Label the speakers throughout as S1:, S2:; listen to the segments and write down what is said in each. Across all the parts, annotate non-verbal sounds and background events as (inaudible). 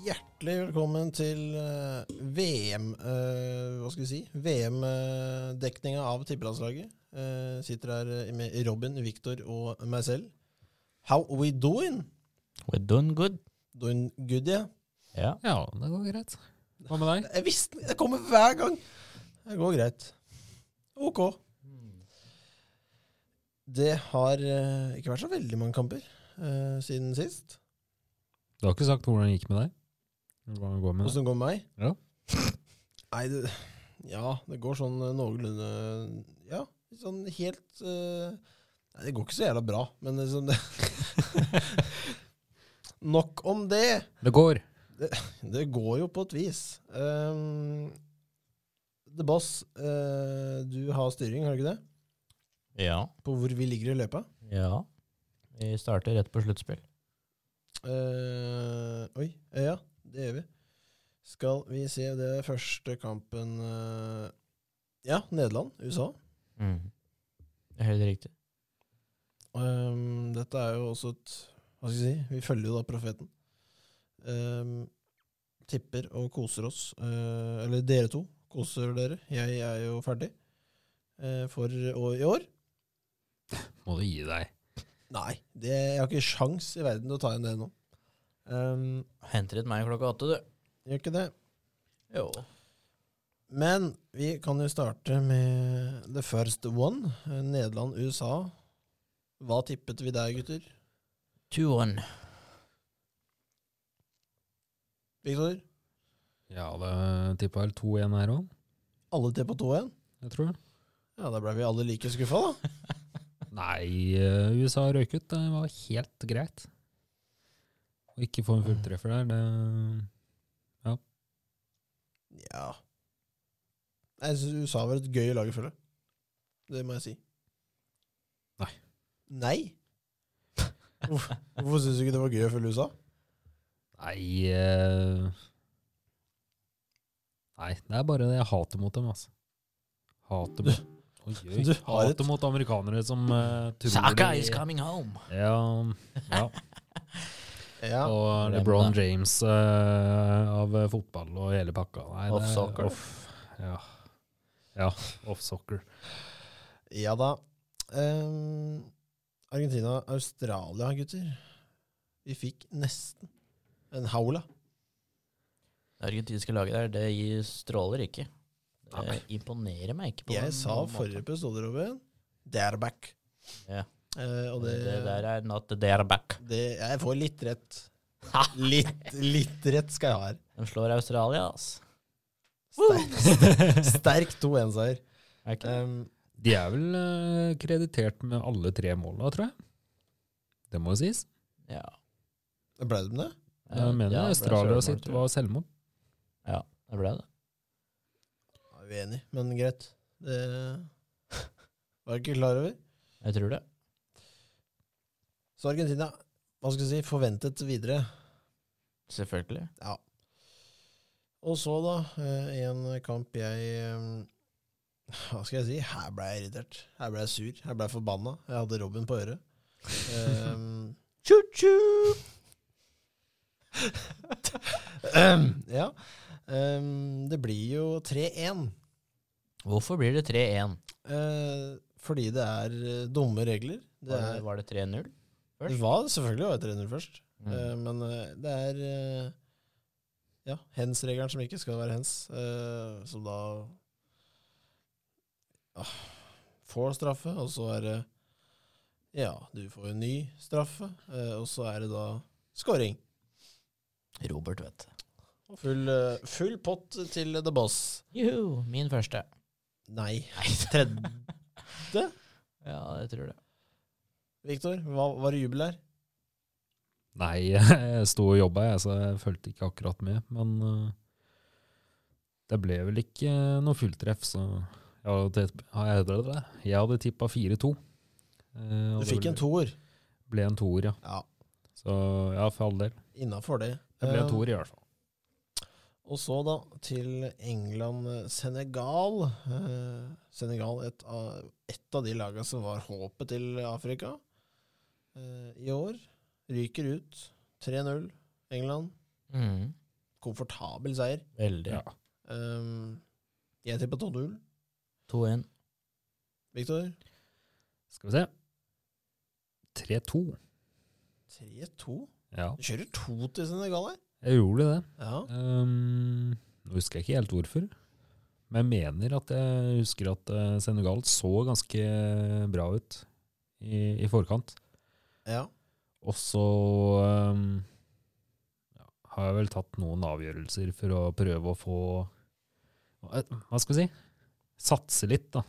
S1: Hjertelig velkommen til eh, VM eh, Hva skal vi si? VM-dekninga av tippelandslaget. Eh, sitter her eh, med Robin, Viktor og meg selv. How we doing?
S2: We're doing good.
S1: Doing good, yeah?
S2: Ja.
S3: Ja, det går greit. Hva med deg?
S1: Jeg visste det! kommer hver gang! Det går greit. Ok. Det har eh, ikke vært så veldig mange kamper eh, siden sist.
S3: Du har ikke sagt hvordan det gikk med deg? Eller Hva det går med deg?
S1: Åssen går det med meg?
S3: Ja.
S1: (laughs) Nei, det Ja, det går sånn eh, noenlunde Ja, sånn helt eh, Nei, det går ikke så jævla bra, men liksom det sånn- (laughs) Nok om det.
S3: Det går.
S1: Det går jo på et vis. Um, The Boss, eh, du har styring, har du ikke det?
S2: Ja.
S1: På hvor vi ligger i løypa?
S2: ja. Vi starter rett på sluttspill.
S1: Eh, oi. eh, Ja, det gjør vi. Skal vi se, det er første kampen eh, Ja, Nederland. USA.
S2: Mm. Det er Helt riktig.
S1: Ehm, dette er jo også et Hva skal jeg si? Vi følger jo da profeten. Ehm, tipper og koser oss. Eh, eller dere to koser dere. Jeg er jo ferdig eh, for å- i år.
S3: Må du gi deg.
S1: Nei, det, jeg har ikke sjans i verden til å ta igjen det nå. Ehm,
S2: Henter et meg klokka åtte, du.
S1: gjør ikke det.
S2: Jo.
S1: Men vi kan jo starte med the first one. Eh, Nederland-USA. Hva tippet vi der, gutter?
S2: 2-1.
S1: Victor?
S3: Ja, det tippa vel 2-1 her òg,
S1: Alle tippet 2-1?
S3: jeg tror.
S1: Ja, da ble vi alle like skuffa, da.
S3: Nei, eh, USA røyk ut. Det var helt greit. Å ikke få en fulltreffer der, det
S1: Ja. Jeg synes USA var et gøy lag å følge. Det må jeg si.
S3: Nei.
S1: Nei? Hvorfor, hvorfor syns du ikke det var gøy å følge USA?
S3: Nei eh, Nei, det er bare det jeg hater mot dem, altså. Hater mot Oi, oi.
S1: du har et-
S3: Hater mot amerikanere som eh, tror
S2: Saka
S3: de-
S2: is coming home.
S3: Ja, ja.
S1: Ja.
S3: og
S2: glem
S3: LeBron
S2: det.
S3: James eh, av eh, fotball og hele pakka. Nei, det-
S2: Off-soccer.
S3: Off, ja, ja off-soccer.
S1: ja da. Ehm, Argentina-Australia, gutter. Vi fikk nesten en haula.
S2: Det argentinske laget der, det gir- stråler ikke. Det
S1: Nei.
S2: imponerer meg ikke. på
S1: Jeg
S2: noen
S1: sa
S2: måte.
S1: forrige episode, Robin, they are back.
S2: Ja.
S1: Eh, og
S2: det,
S1: det,
S2: der er not the they are back.
S1: det Jeg får litt rett. Litt, litt rett skal jeg ha her.
S2: De slår Australia, ass.
S1: (laughs) Sterk, sterk 2-1-seier.
S2: Er ikke det?
S1: Um,
S3: De er vel eh, kreditert med alle tre måla, tror jeg. Det må jo sies.
S2: Ja.
S1: ble det med det?
S3: Jeg
S2: Ja,
S3: mener
S2: det ble
S3: Australia
S2: selvmål,
S3: sitt
S2: tror jeg.
S3: var selvmord.
S2: Ja, det ble det.
S1: Jeg er uenig, men greit. Det var jeg ikke klar over.
S2: Jeg tror det.
S1: Så Argentina, hva skal jeg si, forventet videre.
S2: Selvfølgelig.
S1: Ja. Og så, da, eh, en kamp jeg eh, Hva skal jeg si? Her ble jeg irritert. Her ble jeg sur. Her ble jeg forbanna. Jeg hadde Robin på øret. Um, Tju-tju! ja. Um, det blir jo 3-1.
S2: Hvorfor blir det 3-1?
S1: Eh, fordi det er eh, dumme regler. Det,
S2: Var det-
S1: er,
S2: Var det 3-0?
S1: det var selvfølgelig var 300 først,
S2: Mm.
S1: eh, men eh, det er eh, ja, hens-regelen som ikke skal være hens, eh, som da ah, får straffe, og så er det ja, du får en ny straffe, eh, og så er det da scoring.
S2: Eh, Robert, vet du.
S1: Og Full, eh, full pott til The Boss.
S2: Juhu, min første.
S1: Nei. Tredje.
S2: Ja, jeg tror det.
S1: Viktor, hva var det jubel her?
S3: Nei, (laughs) jeg sto og jobba, jeg, så jeg fulgte ikke akkurat med. Men eh, det ble vel ikke eh, noe fulltreff, så jeg hadde, tipp- jeg hadde, det. Jeg hadde tippa 4-2. Eh,
S1: Du
S3: og det
S1: fikk
S3: ble-
S1: en toer.
S3: Ble en toer, ja.
S1: Ja,
S3: Så ja, for all del.
S1: innafor det.
S3: Det
S1: Eh,
S3: ble en toer i hvert fall.
S1: Og så da til England-Senegal. Eh, Senegal, et av, et av de lagene som var håpet til Afrika
S2: Mm.
S1: eh, i år, ryker ut. 3-0 England. komfortabel seier.
S2: Veldig.
S3: Ja.
S1: Ehm, jeg tipper 12-0.
S2: 2-1.
S1: Viktor?
S3: Skal vi se. 3-2.
S1: 3-2?
S3: Ja,
S1: Du kjører to til Senegal her.
S3: jeg gjorde det.
S1: Ja.
S3: Ehm, nå husker jeg ikke helt hvorfor, men jeg mener at jeg husker at eh, Senegal så ganske bra ut i, i forkant.
S1: ja.
S3: Og så ehm, ja, har jeg vel tatt noen avgjørelser for å prøve å få Hva hva skal vi si? Satse litt, da.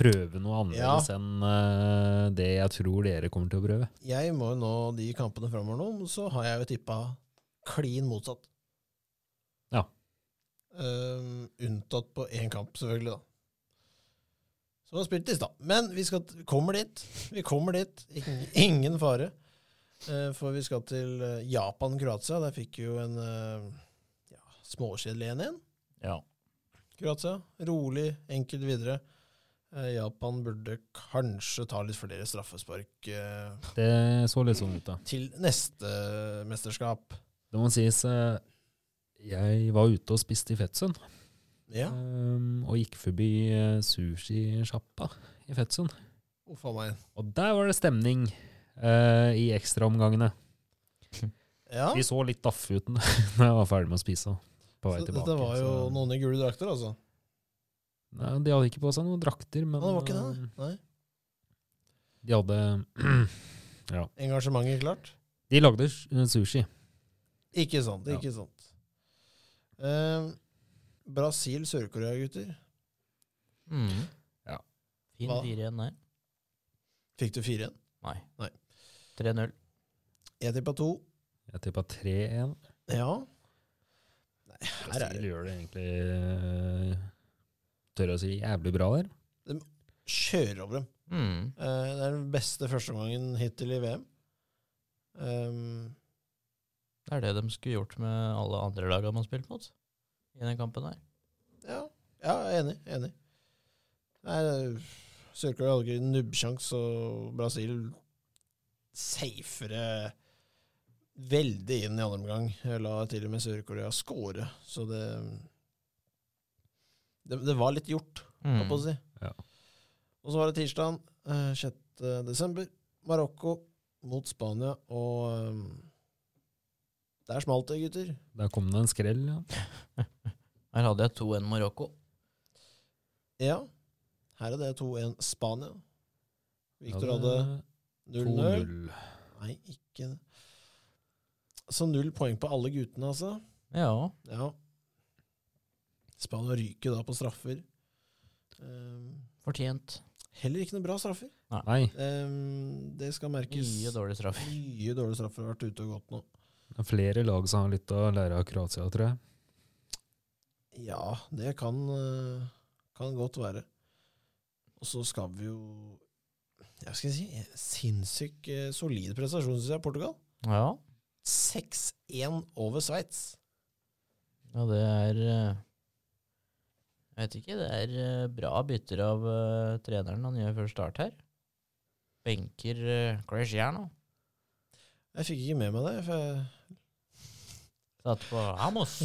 S3: Prøve noe annerledes enn eh, det jeg tror dere kommer til å prøve.
S1: Jeg må jo nå de kampene framover nå, så har jeg jo tippa klin motsatt.
S3: Ja.
S1: Ehm, unntatt på én kamp, selvfølgelig, da. Som har spilt i stad. Men vi skal t- kommer dit. Vi kommer dit. Ingen, ingen fare. Eh, for vi skal til eh, Japan-Kroatia. Der fikk vi jo en eh, ja, småkjedelig 1-1.
S2: Ja.
S1: Kroatia. Rolig, enkelt videre. Eh, Japan burde kanskje ta litt flere straffespark eh,
S3: Det så litt sånn ut, da.
S1: til neste mesterskap.
S3: Det må sies eh, jeg var ute og spiste i Fetsund,
S1: Ja.
S3: ehm, og gikk forbi eh, sushisjappa i Fetsund.
S1: Uff a meg.
S3: Og der var det stemning eh, i ekstraomgangene.
S1: Ja.
S3: De så litt daffe ut (laughs) når jeg var ferdig med å spise. På vei
S1: Så
S3: tilbake.
S1: dette var jo
S3: så-
S1: noen i gule drakter, altså.
S3: Nei, de hadde ikke på seg noen drakter, men
S1: Men det var ikke
S3: eh,
S1: det. Nei.
S3: de hadde
S1: Engasjementet klart.
S3: De lagde s- eh, sushi.
S1: Ikke sant.
S3: Ja.
S1: Ikke sant. Eh, Brasil-Sør-Korea, gutter.
S2: Mm.
S3: Ja.
S2: Fin
S1: Hva?
S2: 4-1 der.
S1: Fikk du 4-1?
S2: Nei.
S1: Nei.
S2: 3-0.
S1: Jeg tippa 2.
S3: Jeg tippa 3-1.
S1: Ja. Her er
S3: Brasil gjør det egentlig eh, Tør å si jævlig bra der.
S1: Kjører over dem.
S2: Mm.
S1: Eh, det er den beste førsteomgangen hittil i VM. Um,
S2: Det er det de skulle gjort med alle andre lagene man spilte mot i den kampen der.
S1: Ja, ja jeg er enig. jeg er Enig. Nei, Sør-Korea hadde ikke nubbsjans, og Brasil safere veldig inn i andre omgang. Jeg La til og med Sør-Korea score, så det, det Det var litt gjort,
S2: Mm.
S1: holdt på å si.
S3: Ja.
S1: Og så var det tirsdag 6. desember. Marokko mot Spania, og eh, Der smalt det, gutter.
S3: Der kom det en skrell, ja.
S2: Her hadde jeg 2-1 Marokko.
S1: Ja. Her er det 2-1 Spania. Viktor hadde
S3: Ja, det-
S1: 0-0.
S3: 2-0.
S1: Nei, ikke det. Så null poeng på alle guttene, altså.
S2: Ja.
S1: Ja. Spania ryker da på straffer. Ehm,
S2: Fortjent.
S1: heller ikke noe bra straffer.
S3: Nei,
S1: Ehm, det skal merkes.
S2: Mye dårlig straffer.
S1: Mye dårlige straffer har vært ute og gått nå.
S3: det er flere lag som har litt å lære av Kroatia, tror jeg.
S1: Ja, det kan, eh, kan godt være. Og så skal vi jo Jeg skal si eh, sinnssykt eh, solid prestasjon, syns jeg, Portugal.
S2: Ja.
S1: 6-1 over Sveits.
S2: ja, det er eh, Jeg vet ikke. Det er eh, bra bytter av eh, treneren han gjør før start her. Benker uh, Cristiano.
S1: Jeg fikk ikke med meg det. For jeg,
S2: Satt på Amos.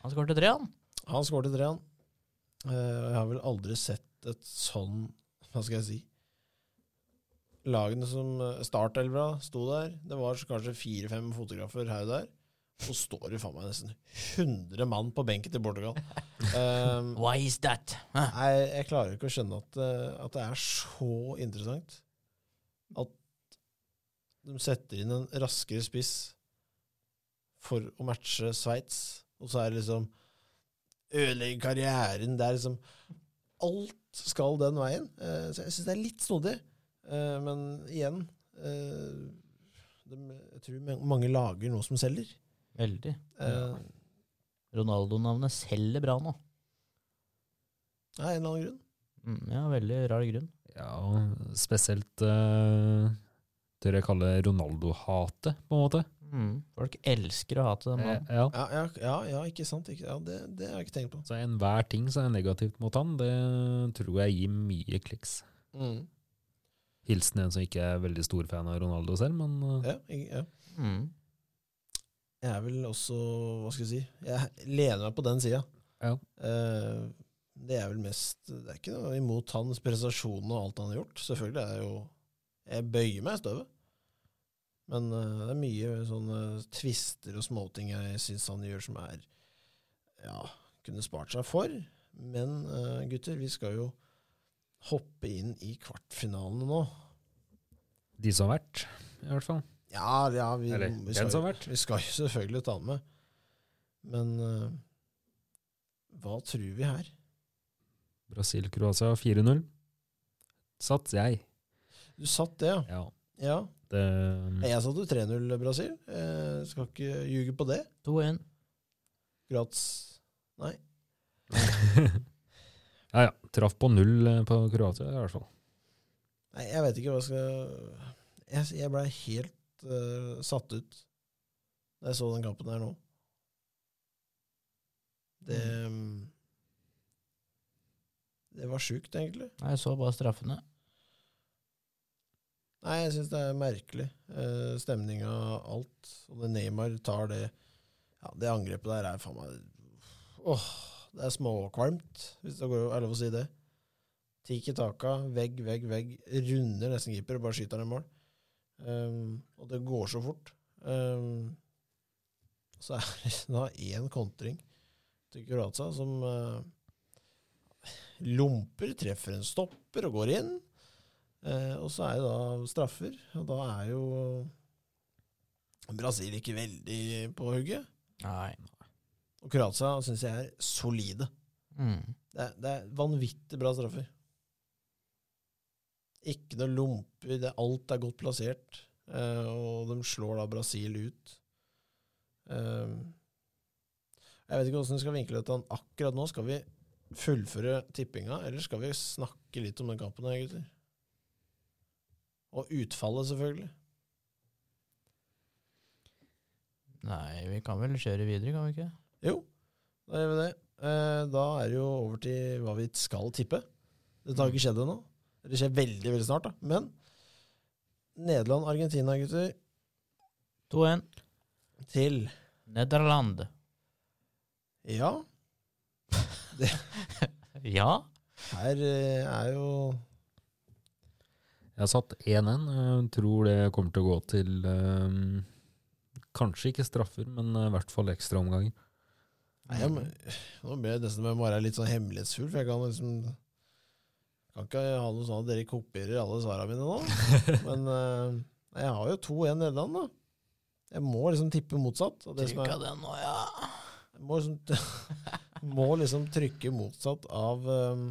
S2: Han skåret tre, han.
S1: (laughs) han skåret tre, han. Eh, og jeg har vel aldri sett et sånn Hva skal jeg si? Lagene som eh, startelvera sto der. Det var så kanskje fire-fem fotografer her og der. Så står det faen meg nesten 100 mann på benken til Portugal. Um,
S2: Why is that? Hæ?
S1: Nei, jeg klarer ikke å skjønne at, eh, at det er så interessant at de setter inn en raskere spiss for å matche Sveits, og så er det liksom Ødelegge karrieren. Det er liksom Alt skal den veien. Eh, Så jeg syns det er litt snodig. Eh, Men igjen eh, de, Jeg tror ma- mange lager noe som selger.
S2: Veldig.
S1: Eh,
S3: Ja.
S2: Ronaldo-navnet selger bra nå.
S1: Nei, en eller annen grunn.
S2: Mm, ja, veldig rar grunn.
S3: Ja, og spesielt eh, tør jeg kalle Ronaldo-hatet, på en måte.
S2: Mm. Folk elsker å hate den mannen.
S3: Eh, ja.
S1: Ja, ja, ja, ja ikke sant? Ikke, ja, det, det har jeg ikke tenkt på.
S3: Så enhver ting som er negativt mot han, det tror jeg gir mye kliks.
S1: Mm.
S3: Hilsen en som ikke er veldig stor fan av Ronaldo selv, men eh,
S1: Ja, jeg, ja.
S2: Mm.
S1: Jeg er er vel også Hva skal jeg si Jeg lener meg på den sida.
S3: Ja.
S1: det er vel mest Det er ikke noe imot hans prestasjoner og alt han har gjort. Selvfølgelig er det jo Jeg bøyer meg i støvet. Men eh, det er mye sånne tvister og småting jeg syns han gjør som er Ja, kunne spart seg for. Men eh, gutter, vi skal jo hoppe inn i kvartfinalene nå.
S3: De som har vært, i hvert fall.
S1: Ja, ja vi,
S3: Eller
S1: vi
S3: den
S1: skal
S3: som har vært.
S1: vi skal jo selvfølgelig ta den med. Men eh, hva tror vi her?
S3: Brasil-Kroatia 4-0. Sats jeg.
S1: Du satt det, ja.
S3: Ja.
S1: ja.
S3: Det, Mm. eh,
S1: Jeg satte 3-0 Brasil. Eh, skal ikke ljuge på det.
S2: 2-1.
S1: Grats. Nei.
S3: ja, ja. Traff på null eh, på Kroatia, i hvert fall.
S1: Nei, jeg veit ikke hva jeg skal Jeg, jeg blei helt eh, satt ut da jeg så den kampen her nå. Det
S2: Mm.
S1: mm, Det var sjukt, egentlig.
S2: Nei, jeg så bare straffene.
S1: Nei, jeg syns det er merkelig. Eh, Stemninga, alt. Og det Neymar tar det Ja, det angrepet der er faen meg Åh, det er småkvalmt, hvis det går er lov å si det. Tiki Taka, vegg, vegg, vegg. Runder nesten keeper og bare skyter han i mål. Ehm, og det går så fort. Ehm, så er det da én kontring til Kroatia som eh, lomper, treffer en stopper og går inn. Eh, og så er det da straffer, og da er jo Brasil ikke veldig på hugget.
S2: Nei.
S1: Og Kroatia syns jeg er solide.
S2: Mm.
S1: Det er, det er vanvittig bra straffer. Ikke noe lomper, det, alt er godt plassert. Eh, og de slår da Brasil ut. Eh, jeg vet ikke åssen vi skal vinkle dette. Akkurat nå skal vi fullføre tippinga, eller skal vi snakke litt om den kampen her, gutter? Og utfallet, selvfølgelig.
S2: Nei, vi kan vel kjøre videre, kan vi ikke?
S1: Jo, da gjør vi det. Eh, da er det jo over til hva vi skal tippe. Dette har ikke skjedd ennå. Det skjer veldig, veldig snart, da. Men Nederland-Argentina, gutter,
S2: 2-1.
S1: til
S2: Nederland.
S1: Ja,
S2: Ja.
S1: her eh, er jo
S3: Jeg har satt 1-1. Jeg tror det kommer til å gå til eh, Kanskje ikke straffer, men eh, i hvert fall ekstraomganger.
S1: Nei, jeg, må- Nå ble jeg nesten med å være litt sånn hemmelighetsfull, for jeg kan liksom Kan ikke ha noe sånn at dere kopierer alle svarene mine nå. Men eh, jeg har jo 2-1 Nederland, da. Jeg må liksom tippe motsatt. Og det som er
S2: Trykka den nå, ja.
S1: Jeg må liksom, (laughs) må liksom trykke motsatt av, um,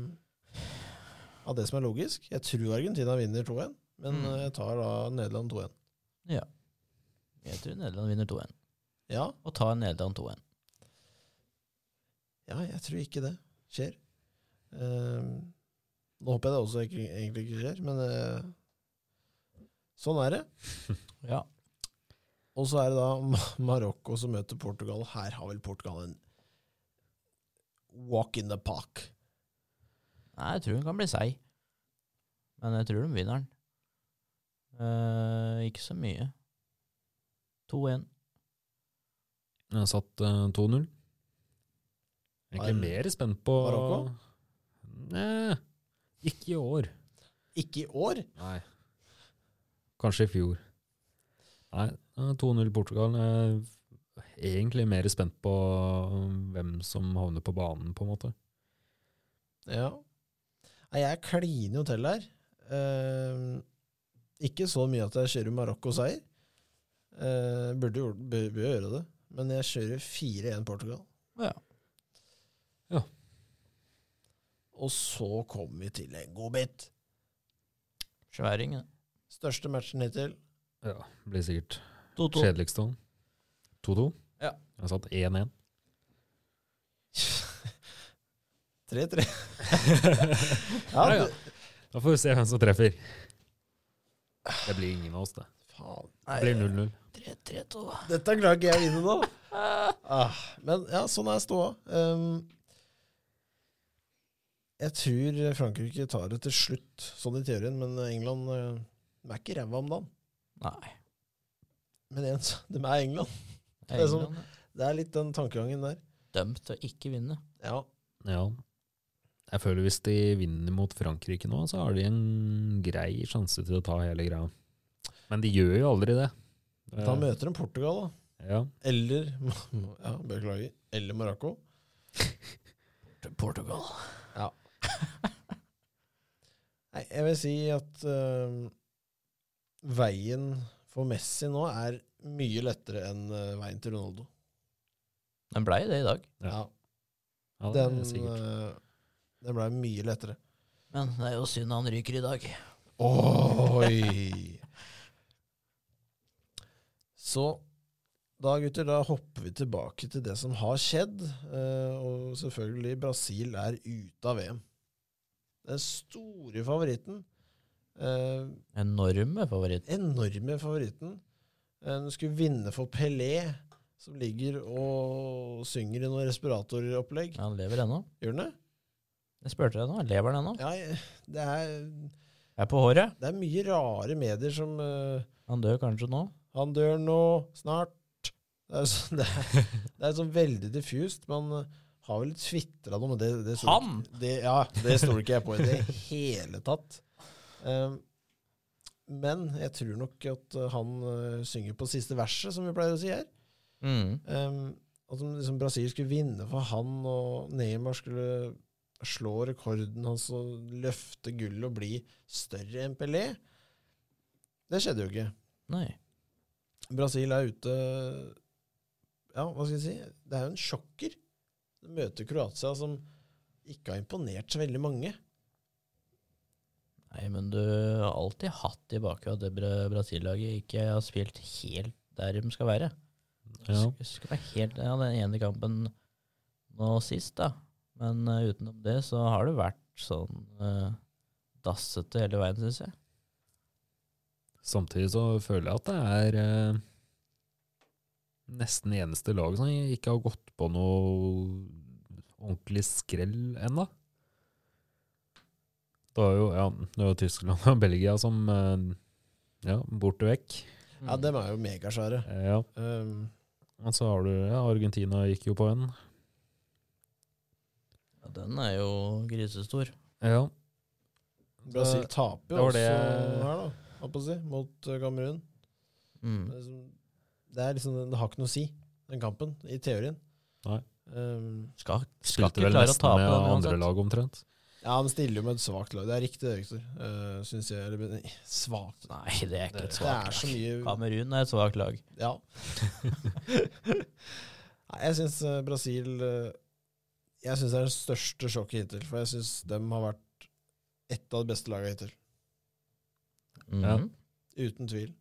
S1: av det som er logisk. Jeg tror Argentina vinner 2-1, men
S2: Mm.
S1: eh, jeg tar da Nederland 2-1.
S2: Jeg tror Nederland vinner 2-1.
S1: Ja,
S2: Og tar Nederland 2-1.
S1: ja, jeg tror ikke det skjer. Ehm, nå håper jeg det også ikke, egentlig ikke skjer, men eh, sånn er det.
S2: (laughs) Ja.
S1: Og så er det da Ma- Marokko som møter Portugal. Her har vel Portugal en walk in the park.
S2: Nei, jeg tror hun kan bli seig. Men jeg tror de vinner den. Eh, ikke så mye. 2-1.
S3: Jeg har satt eh, 2-0.
S1: Var-
S3: Egentlig mer spent på
S1: Marokko?
S3: Nei, ikke i år.
S1: Ikke i år.
S3: Nei. Kanskje i fjor. Nei, eh, 2-0 Portugal. Jeg er egentlig mer spent på eh, hvem som havner på banen, på en måte.
S1: Ja. Nei, jeg kliner jo til her. Ehm, ikke så mye at jeg kjører Marokko-seier. Uh, burde jo bør, bør gjøre det. Men jeg kjører 4-1 Portugal.
S2: Ja.
S3: Ja.
S1: Og så kommer vi til en godbit.
S2: Sværing. ja.
S1: Største matchen hittil.
S3: Ja, Blir sikkert
S2: 2-2.
S3: kjedeligst òg. 2-2.
S2: Ja.
S3: Jeg har satt 1-1.
S1: 3-3. (laughs) ja,
S3: Ja, ja.
S1: det-
S3: Da får vi se hvem som treffer. Det blir ingen av oss, det.
S1: Faen.
S3: Det blir 0-0.
S2: 3-3-2.
S1: Dette klarer ikke jeg å vinne nå. Ah, men ja, sånn er ståa. Um, jeg tror Frankrike tar det til slutt, sånn i teorien, men England eh, De er ikke ræva om dagen.
S2: Nei.
S1: Men igjen, så- de er England. Det er, sånn,
S2: England er
S1: det er litt den tankegangen der.
S2: dømt til å ikke vinne.
S1: Ja,
S3: Ja. Jeg føler hvis de vinner mot Frankrike nå, så har de en grei sjanse til å ta hele greia. Men de gjør jo aldri det. Eh,
S1: Da møter de Portugal, da.
S3: Ja.
S1: Eller (laughs) ja, Beklager. Eller Marokko.
S2: Portugal.
S1: Nei, jeg vil si at øhm, veien for Messi nå er mye lettere enn øh, veien til Ronaldo.
S2: Den blei det i dag.
S3: Ja. ja, det
S1: Den,
S3: er sikkert.
S1: øh, den blei mye lettere.
S2: Men det er jo synd han ryker i dag.
S1: Oi! Så da, gutter, da hopper vi tilbake til det som har skjedd. eh, Og selvfølgelig, Brasil er ute av VM. Den store favoritten. eh,
S2: Enorme favoritt.
S1: Enorme favoritten. Eh, Den skulle vinne for Pelé, som ligger og synger i noen respiratoropplegg.
S2: Ja, Han lever ennå.
S1: Gjør den det?
S2: Jeg spurte deg nå. Lever han ennå?
S1: Ja, jeg- det er,
S2: Jeg er på håret.
S1: det er mye rare medier som eh,
S2: Han dør kanskje nå.
S1: Han dør nå, snart. Det er, så, (laughs) det er, det er sånn veldig diffust. Man har vel tvitra noe, men det, det sto
S2: Han?
S1: ikke- Det, ja, det stoler ikke jeg på i det hele tatt. Um, men jeg tror nok at uh, han uh, synger på siste verset, som vi pleier å si her.
S2: Mm.
S1: Um, at om liksom Brasil skulle vinne for han, og Neymar skulle slå rekorden hans og løfte gullet og bli større enn Pelé. Det skjedde jo ikke.
S2: Nei.
S1: Brasil er ute Ja, hva skal jeg si? Det er jo en sjokker. De møter Kroatia, som ikke har imponert så veldig mange.
S2: Nei, men du har alltid hatt i bakhodet at det Bra- Brasil-laget ikke har spilt helt der de skal være.
S1: eh,
S3: Ja.
S2: Sk- Skal være helt, ja, den ene kampen nå sist, da. Men eh, utenom det så har det vært sånn eh, dassete hele veien, syns jeg.
S3: Samtidig så føler jeg at det er eh, nesten eneste lag som ikke har gått på noe ordentlig skrell ennå. Det er jo ja, det er jo Tyskland og Belgia som eh, ja, borte vekk.
S1: Ja,
S2: Mm.
S1: dem er jo megasvære.
S3: Eh, Ja.
S1: Um,
S3: Og så har du ja, Argentina gikk jo på en.
S2: Ja, den er jo grisestor.
S3: Ja.
S1: Brasil taper
S3: det
S1: jo
S3: var
S1: også
S3: det-
S1: her, da, holdt på å si, mot eh, Kamerun. Det
S2: Mm.
S1: er liksom- Det, er liksom, det har ikke noe å si, den kampen, i teorien.
S3: Nei.
S1: Um,
S2: Skal, skal
S3: Spilte
S2: ikke
S3: vel
S2: klare å
S3: nesten
S2: tape
S3: med
S2: den
S3: andre
S2: uansett.
S3: lag omtrent.
S1: ja, han stiller jo med et svakt lag. Det er riktig, Victor. Uh, Syns jeg. Eller, nei, svakt
S2: Nei, det er ikke et
S1: Det er
S2: svakt
S1: så
S2: lag.
S1: mye
S2: Kamerun er et svakt lag.
S1: Ja. (laughs) Nei, jeg syns Brasil eh, Jeg synes det er det største sjokket hittil. For jeg syns dem har vært et av de beste lagene hittil.
S3: Ja.
S2: Mhm.
S1: Uten tvil.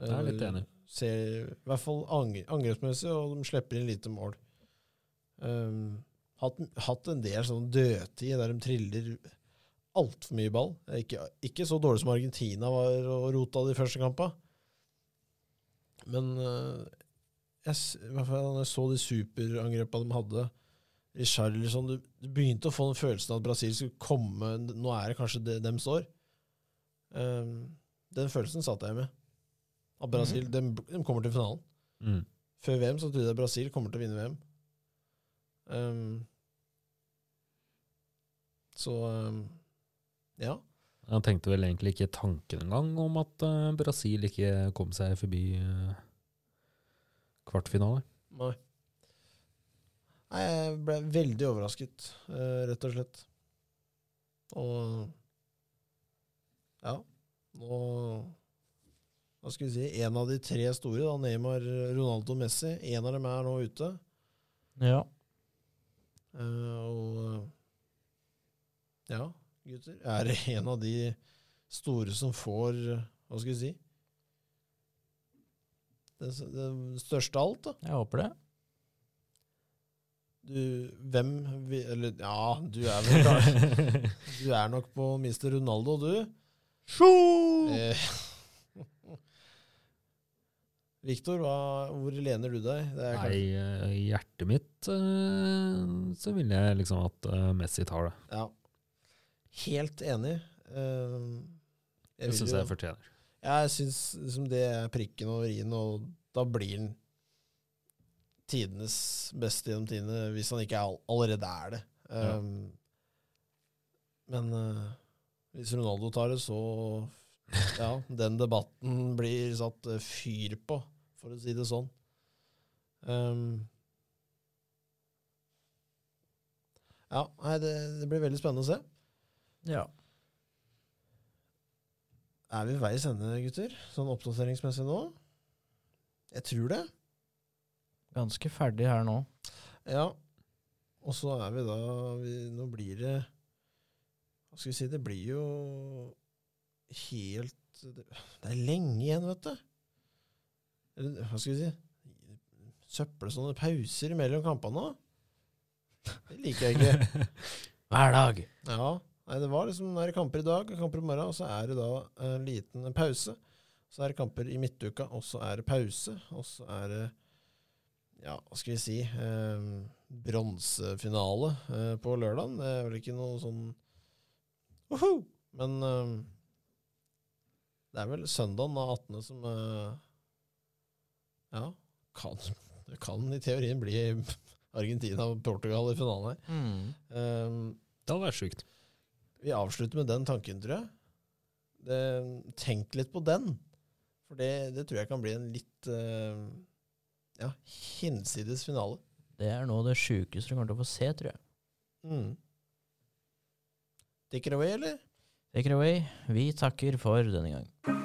S1: Eh,
S3: Jeg er litt enig.
S1: Ser, I hvert fall ang angrepsmessig, og de slipper inn lite mål. Um, hatt, hatt en del sånn dødtid der de triller altfor mye ball. Det er Ikke, ikke så dårlig som Argentina var og rota de første kampa. Men uh, jeg, s- i hvert fall når jeg så de superangrepa de hadde Richarlison, du, du begynte å få den følelsen at Brasil skulle komme Nå er det kanskje det dem står. Um, den følelsen satt jeg med. At Brasil de, de kommer til finalen.
S3: Mm.
S1: Før VM så trodde jeg Brasil kommer til å vinne VM. Um, så um, ja.
S3: Jeg tenkte vel egentlig ikke tanken engang om at eh, Brasil ikke kom seg forbi eh, kvartfinale.
S1: Nei. Nei, jeg ble veldig overrasket, eh, rett og slett. Og ja, nå Hva skal vi si? En av de tre store, da, Neymar, Ronaldo, Messi, en av dem er nå ute.
S2: Ja.
S1: Eh, og eh, ja, gutter, er det en av de store som får eh, Hva skal vi si? Det, s- det største av alt, da.
S2: Jeg håper det.
S1: Du, hvem vi, Eller ja, du er vel klar. (laughs) Du er nok på Mr. Ronaldo, du. Eh, (laughs) Victor, hva, hvor lener du deg? Det er
S3: Nei, eh, i hjertet mitt eh, så vil jeg liksom at eh, Messi tar det.
S1: Ja. Helt enig. Eh, jeg
S3: Det
S1: vil
S3: syns
S1: jo-
S3: jeg fortjener.
S1: Jeg syns liksom det er prikken over i-en, og da blir den tidenes beste gjennom tidene, hvis han ikke er, all- allerede er det.
S3: Ja.
S1: Um, Men eh, hvis Ronaldo tar det, så Ja, den debatten blir satt eh, fyr på, for å si det sånn. Um, ja, nei, det, det blir veldig spennende å se.
S2: Ja.
S1: Er vi ved veis ende, gutter? Sånn oppdateringsmessig nå? Jeg tror det.
S2: Ganske ferdig her nå.
S1: Ja. Og så er vi da vi, Nå blir det Hva skal vi si? Det blir jo helt Det det er lenge igjen, vet du. Eller hva skal vi si? Søple sånne pauser mellom kampene nå. Det liker jeg ikke.
S3: (laughs)
S2: Hver dag.
S1: Ja, nei, det var liksom det er kamper i dag og kamper i morgen, og så er det da en liten pause. Så er det kamper i midtuka, og så er det pause, og så er det ja, hva skal vi si eh, Bronsefinale eh, på lørdagen. Det er vel ikke noe sånn Woho! Men eh, det er vel søndagen da 18. som eh, Ja, kan, (laughs) det kan i teorien bli Argentina og Portugal i finalen her.
S2: Mm.
S1: Eh,
S3: Det hadde vært sjukt.
S1: vi avslutter med den tanken, tror jeg. Det, tenk litt på den. For det, det tror jeg kan bli en litt eh, ja, hinsides finale.
S2: Det er nå det sjukeste du kommer til å få se, tror jeg.
S1: Mm. Take it away, eller?
S2: Take it away. Vi takker for denne gang.